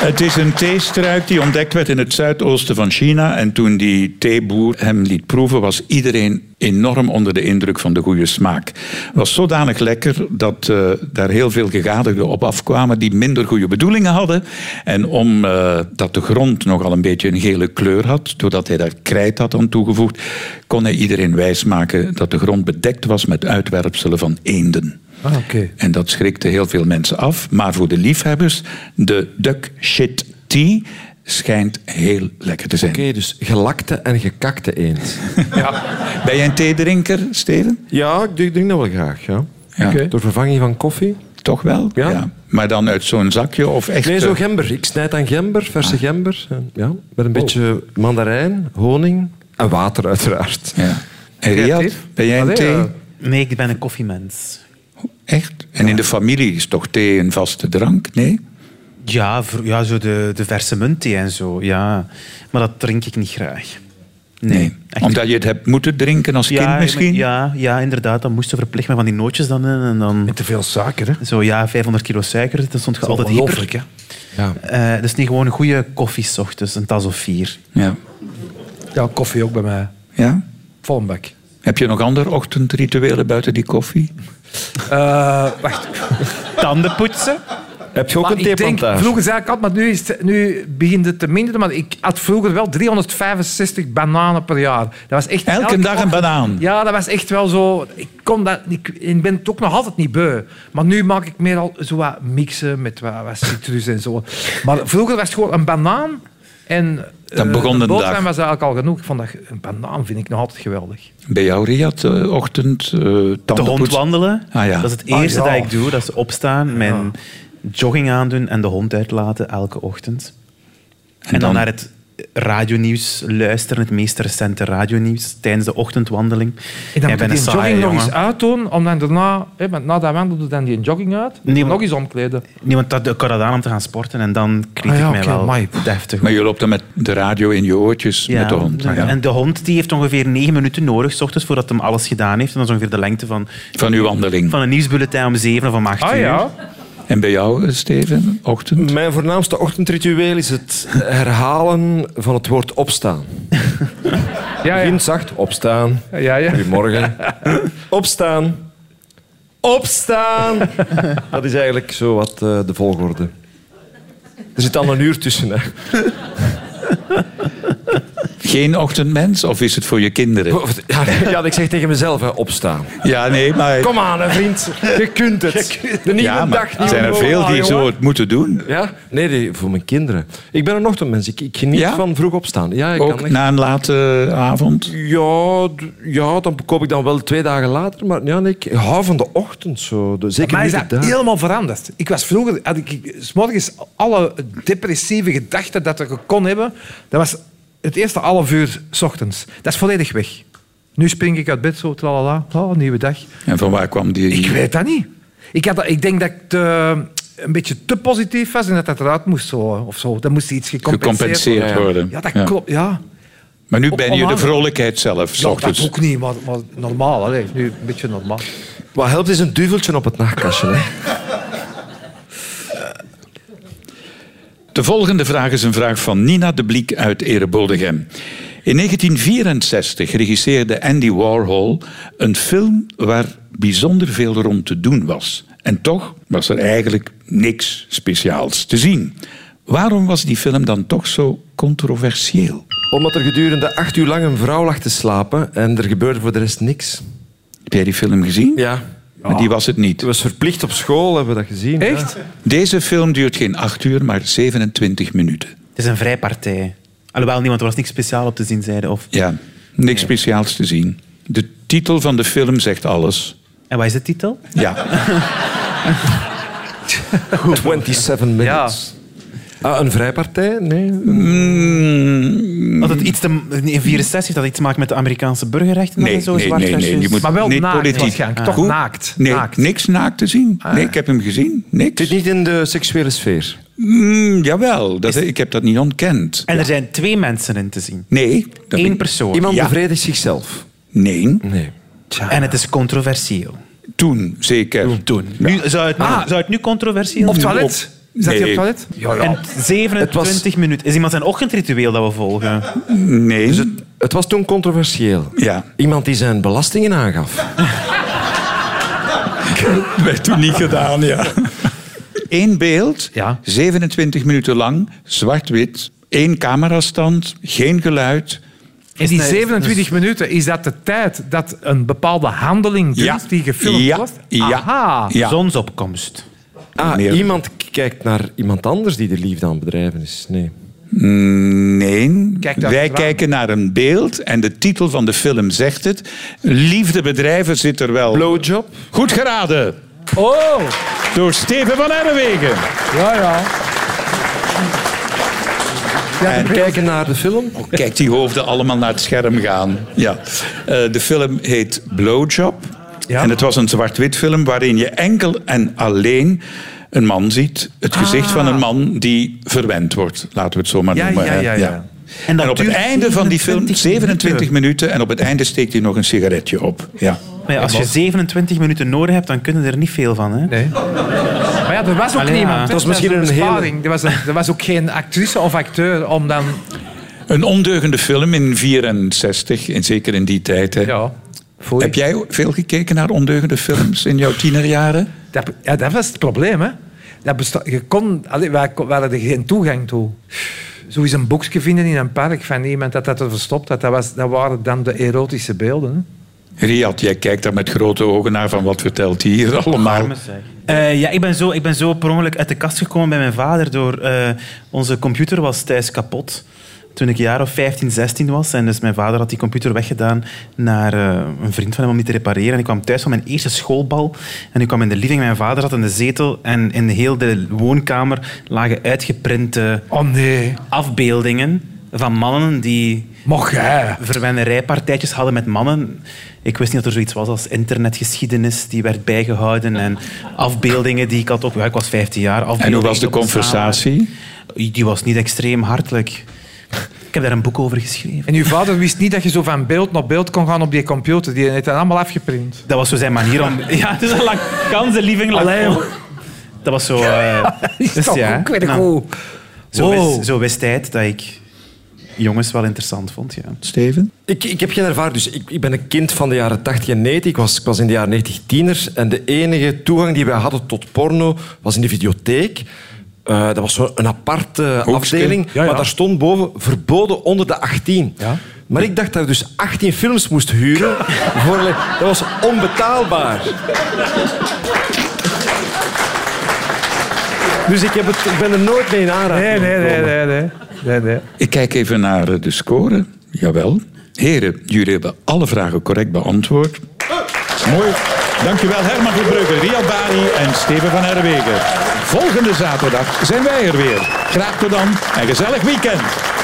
C: Het is een theestruik die ontdekt werd in het zuidoosten van China. En toen die theeboer hem liet proeven, was iedereen enorm onder de indruk van de goede smaak. Het was zodanig lekker dat eh, daar heel veel gegadigden op afkwamen die minder goede bedoelingen hadden. En omdat dat de grond nogal een beetje een gele kleur had, doordat hij daar krijt had aan toegevoegd, kon hij iedereen wijsmaken dat de grond bedekt was met uitwerpselen van eenden.
E: Ah, oké.
C: En dat schrikte heel veel mensen af. Maar voor de liefhebbers, de duck shit tea schijnt heel lekker te zijn.
D: Oké, dus gelakte en gekakte eend.
C: Ben jij een theedrinker, Steven?
D: Ja, ik drink dat wel graag. Ja.
C: Ja.
E: Oké.
D: Door vervanging van koffie?
C: Toch wel?
D: Ja.
C: Maar dan uit zo'n zakje of echt...
D: Nee, zo
C: eh,
D: gember. Ik snijd aan gember, verse
E: Ah.
D: gember. eh, Ja. Met
E: Oh.
D: een beetje mandarijn, honing en water uiteraard.
C: ja. En Riyad,
E: Creatief.
C: ben jij een
E: Allee,
C: thee?
E: eh,
F: Nee, ik ben een koffiemens.
C: Echt? En in de familie is toch thee een vaste drank? Nee?
F: Ja, vro- ja zo de, de verse muntthee en zo, ja. Maar dat drink ik niet graag. Nee. echt
C: Omdat je het hebt moeten drinken als
F: ja,
C: kind misschien?
F: Ja, ja, inderdaad. Dan moesten verplicht met van die nootjes dan in. En dan
E: Met te veel suiker, hè?
F: zo, ja, 500 kilo suiker. Dan stond je altijd hyper.
E: ongelooflijk, hè?
D: Ja.
F: Eh, dus niet gewoon een goede koffie 's ochtends, een tas of vier.
C: ja.
E: Ja, koffie ook bij mij.
C: Ja?
E: Vol een bak.
C: Heb je nog andere ochtendrituelen buiten die koffie?
E: Eh, wacht.
F: Tanden poetsen.
D: Heb je ook
E: Maar
D: een
E: ik denk,
D: theeplantage?
E: vroeger zei ik altijd, maar nu, is het, nu begint het te minderen. Maar ik had vroeger wel 365 bananen per jaar. Dat was echt
C: Elke dag een
E: ochtend-
C: banaan?
E: Ja, dat was echt wel zo. Ik, kon dat, ik, ik ben het ook nog altijd niet beu. Maar nu maak ik meer al zo wat mixen met wat, wat citrus en zo. Maar vroeger was het gewoon een banaan. En
C: Dan
E: eh,
C: begon de
E: boterham
C: dag.
E: was eigenlijk al genoeg. Ik vond dat, een banaan vind ik nog altijd geweldig.
C: Bij jou, Riyad, eh, ochtend, eh
F: De hond
C: tandenpoetsen?
F: wandelen.
C: Ah, ja.
F: Dat is het
E: Ah,
F: eerste
E: ja.
F: dat ik doe. Dat is opstaan, mijn jogging aandoen en de hond uitlaten elke ochtend. En, dan,
C: dan?
F: naar het radionieuws luisteren, het meest recente radionieuws tijdens de ochtendwandeling.
E: En dan moet
F: Jij
E: je
F: bent
E: die
F: een
E: jogging
F: saaie
E: nog
F: jongen.
E: eens uitdoen, om dan daarna, hè, want na dat wandel doe dan die jogging uit,
F: Nee, maar-
E: nog eens omkleden.
F: Nee, want dat, ik had dat aan om te gaan sporten en dan kreeg
E: Ah, ja,
F: ik mij
E: oké,
F: wel
E: amai.
F: deftig.
C: Maar je loopt dan met de radio in je oortjes
F: Ja,
C: met de hond. Ah, ja.
F: En de hond die heeft ongeveer negen minuten nodig, 's ochtends, voordat hem alles gedaan heeft. En dat is ongeveer de lengte van,
C: Van uw wandeling.
F: van een nieuwsbulletin om zeven of om acht
E: Ah
F: uur.
E: ja?
C: En bij jou, eh, Steven, ochtend?
D: Mijn voornaamste ochtendritueel is het herhalen van het woord opstaan.
E: Ah, Ja, ja.
D: Begin zacht, opstaan.
E: ja, ja.
D: Goedemorgen. Opstaan. Opstaan. Dat is eigenlijk zo wat eh, de volgorde. Er zit al een uur tussen. Hè.
C: Geen ochtendmens? Of is het voor je
E: Oh.
C: kinderen?
D: Oh, Ja, ja, ik zeg tegen mezelf, hè, opstaan.
C: Ja, nee, maar...
D: Kom aan, hè, vriend. Je kunt het. De nieuwe
C: ja,
D: dag,
C: maar er
D: nieuwe
C: zijn er veel
D: normaal,
C: die
D: jongen.
C: zo het moeten doen.
D: Ja? Nee, die- voor mijn kinderen. Ik ben een ochtendmens. Ik, ik geniet
C: Ja?
D: van vroeg opstaan. Ja, ik
C: Ook
D: kan echt...
C: na een late avond.
D: Ja, d- ja, dan koop ik dan wel twee dagen later. Maar ja, nee, ik hou van de ochtend zo. De- Zeker
E: Maar is
D: niet
E: dat
D: de dag.
E: helemaal veranderd? Ik was vroeger, had ik s'morgens alle depressieve gedachten dat ik kon hebben, dat was het eerste half uur 's ochtends. Dat is volledig weg. Nu spring ik uit bed zo, tralala, oh, nieuwe dag.
C: En van waar kwam die...
E: Ik weet dat niet. Ik, had dat, ik denk dat ik te- een beetje te positief was en dat dat eruit moest zo, of zo. Dat moest iets gecompenseerd,
C: Gecompenseerd worden,
E: Ja, dat
C: ja.
E: klopt, ja.
C: Maar nu
E: Ook
C: ben je de
E: online.
C: vrolijkheid zelf, s
E: Ja, dat
C: ochtends.
E: ook niet, maar, maar normaal. Allee, nu een beetje normaal.
D: Wat helpt is een duveltje op het nachtkastje. Hè.
C: De volgende vraag is een vraag van Nina de Bliek uit Erebodegem. In 1964 regisseerde Andy Warhol een film waar bijzonder veel rond te doen was. En toch was er eigenlijk niks speciaals te zien. Waarom was die film dan toch zo controversieel?
D: Omdat er gedurende acht uur lang een vrouw lag te slapen en er gebeurde voor de rest niks.
C: Heb jij die film gezien?
D: Ja.
C: Maar die was het niet.
D: Het was verplicht op school, hebben we dat gezien.
E: Echt?
D: Ja.
C: Deze film duurt geen acht uur, maar 27 minuten.
F: Het is een vrijpartij. Alhoewel, niemand, er was niks speciaal op te zien, zeiden. Of...
C: Ja, niks speciaals te zien. De titel van de film zegt alles.
F: En wat is de titel?
C: Ja.
D: 27 minutes. Ah, een vrijpartij? Nee.
C: Mm.
F: Dat het iets te, in 64 heeft dat iets te maken met de Amerikaanse burgerrechten?
C: Nee,
F: en zo,
C: nee,
F: zwart
C: nee, nee,
F: versus-
C: je moet-
E: Maar wel
C: Niet
E: naakt
C: politiek.
E: waarschijnlijk. Toch
C: Hoe?
E: naakt.
C: Nee,
E: naakt. Ah.
C: niks naakt te zien. Nee, ik heb hem gezien.
D: Zit
C: Niks.
D: niet in de seksuele sfeer.
C: Mm, jawel, dat, ik heb dat niet ontkend.
F: En er zijn twee mensen in te zien.
C: Nee. dat
F: Eén
C: ben-
F: persoon.
D: Iemand
C: Ja.
D: bevredigt zichzelf.
C: Nee,
D: Nee.
F: En het is controversieel.
C: toen zeker. Toen.
F: Nu, zou, het nu,
E: Ah.
F: zou het nu controversieel
E: Op
F: zijn?
E: toilet? Is dat die
C: Nee.
E: op toilet? Ja,
F: En 27
D: was-
F: minuten. Is iemand zijn ochtendritueel dat we volgen?
C: Nee.
E: Dus
D: Het was toen controversieel.
C: ja,
D: Iemand die zijn belastingen aangaf.
C: dat werd toen niet gedaan, ja. Eén beeld,
F: Ja.
C: 27 minuten lang, zwart-wit. Eén camerastand, geen geluid.
E: En die
F: Nee,
E: 27
C: dus-
E: minuten, is dat de tijd dat een bepaalde handeling doet die gefilmd
C: ja.
E: wordt?
C: Ja.
E: Aha.
C: Ja.
F: Zonsopkomst.
D: Ah,
C: Meer.
D: iemand k- kijkt naar iemand anders die de liefde aan het bedrijven is. Nee.
C: Mm, Nee,
E: Kijk daar
C: wij
E: eens aan.
C: kijken naar een beeld en de titel van de film zegt het. Liefdebedrijven zit er wel.
D: Blowjob.
C: Goed geraden
E: Oh,
C: door Steven van Erwegen.
E: ja, ja.
C: En
D: Kijken naar de film.
C: Oh, Kijk die hoofden allemaal naar het scherm gaan. Ja. Eh, de film heet Blowjob.
E: Ja.
C: En het was een zwart-wit film waarin je enkel en alleen een man ziet. Het
E: Ah.
C: gezicht van een man die verwend wordt, laten we het zo maar eh,
E: Ja,
C: noemen.
E: ja,
C: hè.
E: ja, ja.
F: En
C: En,
F: dat
C: op het
F: duurt
C: einde van die film,
F: 27 minuten.
C: 27 minuten, en op het einde steekt hij nog een sigaretje op. Ja.
F: Maar ja, als je 27 minuten nodig hebt, dan kunnen er niet veel van. Hè?
E: Nee. Maar ja, er was ook
F: Allee,
E: niemand. hè.
F: ja. Dat
D: eh, was misschien
E: Dat is
D: een hele-
E: besparing. Er was, er was ook geen actrice of acteur om dan...
C: Een ondeugende film in 64, en zeker in die tijd. Hè.
E: Ja, foei.
C: Heb jij veel gekeken naar ondeugende films in jouw tienerjaren?
E: Dat, ja, dat was het probleem, hè. Dat besta- je kon, allee, wij, kon- we hadden er geen toegang toe. Zo is een boekje vinden in een park van iemand dat dat er verstopt had. Dat, was, dat waren dan de erotische beelden. Hè.
C: Riad, jij kijkt daar met grote ogen naar van wat vertelt hij hier allemaal.
F: Arme zeg. Eh, ja, ik ben, zo, ik ben zo per ongeluk uit de kast gekomen bij mijn vader. Door, eh, onze computer was thuis kapot. Toen ik een jaar of 15, 16 was. En dus mijn vader had die computer weggedaan naar eh, een vriend van hem om die te repareren. En ik kwam thuis van mijn eerste schoolbal. En ik kwam in de living. Mijn vader zat in de zetel. En in heel de woonkamer lagen uitgeprinte
E: Oh nee,
F: afbeeldingen van mannen die
E: mocht jij.
F: verwennerijpartijtjes hadden met mannen. Ik wist niet dat er zoiets was als internetgeschiedenis die werd bijgehouden en afbeeldingen die ik had op. Ja, ik was 15 jaar.
C: En hoe
F: afbeeldingen
C: was de
F: op een
C: conversatie?
F: samen. Die was niet extreem hartelijk. Ik heb daar een boek over geschreven.
E: En uw vader wist niet dat je zo van beeld naar beeld kon gaan op die computer. Die heeft dat allemaal afgeprint.
F: Dat was zo zijn manier om. Ja, het is een lang kanse lieving. lang-
E: Allee,
F: Dat was zo. eh, dus ja,
E: ik weet het
F: nou,
E: goed.
F: zo,
E: Wow.
F: wist, zo wist hij het dat ik jongens wel interessant vond. Ja.
C: Steven?
D: Ik, ik heb geen ervaring, dus ik, ik ben een kind van de jaren 80 en 90. Ik was, ik was in de jaren 90 tieners en de enige toegang die wij hadden tot porno was in de videotheek. Eh, dat was zo'n aparte afdeling,
E: Ja, ja.
D: maar daar stond boven verboden onder de 18. Maar ik dacht dat ik dus 18 films moest huren. voor, dat was onbetaalbaar. Dus ik, heb het, ik ben er nooit mee in aanraking
E: Nee, nee, nee,
D: gekomen.
E: nee. nee. nee, nee.
C: Ik kijk even naar eh, de score. Jawel. Heren, jullie hebben alle vragen correct beantwoord. Mooi. Dankjewel Herman van Brugge, Riad Bari en Steven van Herwegen. Volgende zaterdag zijn wij er weer. Graag tot dan en gezellig weekend.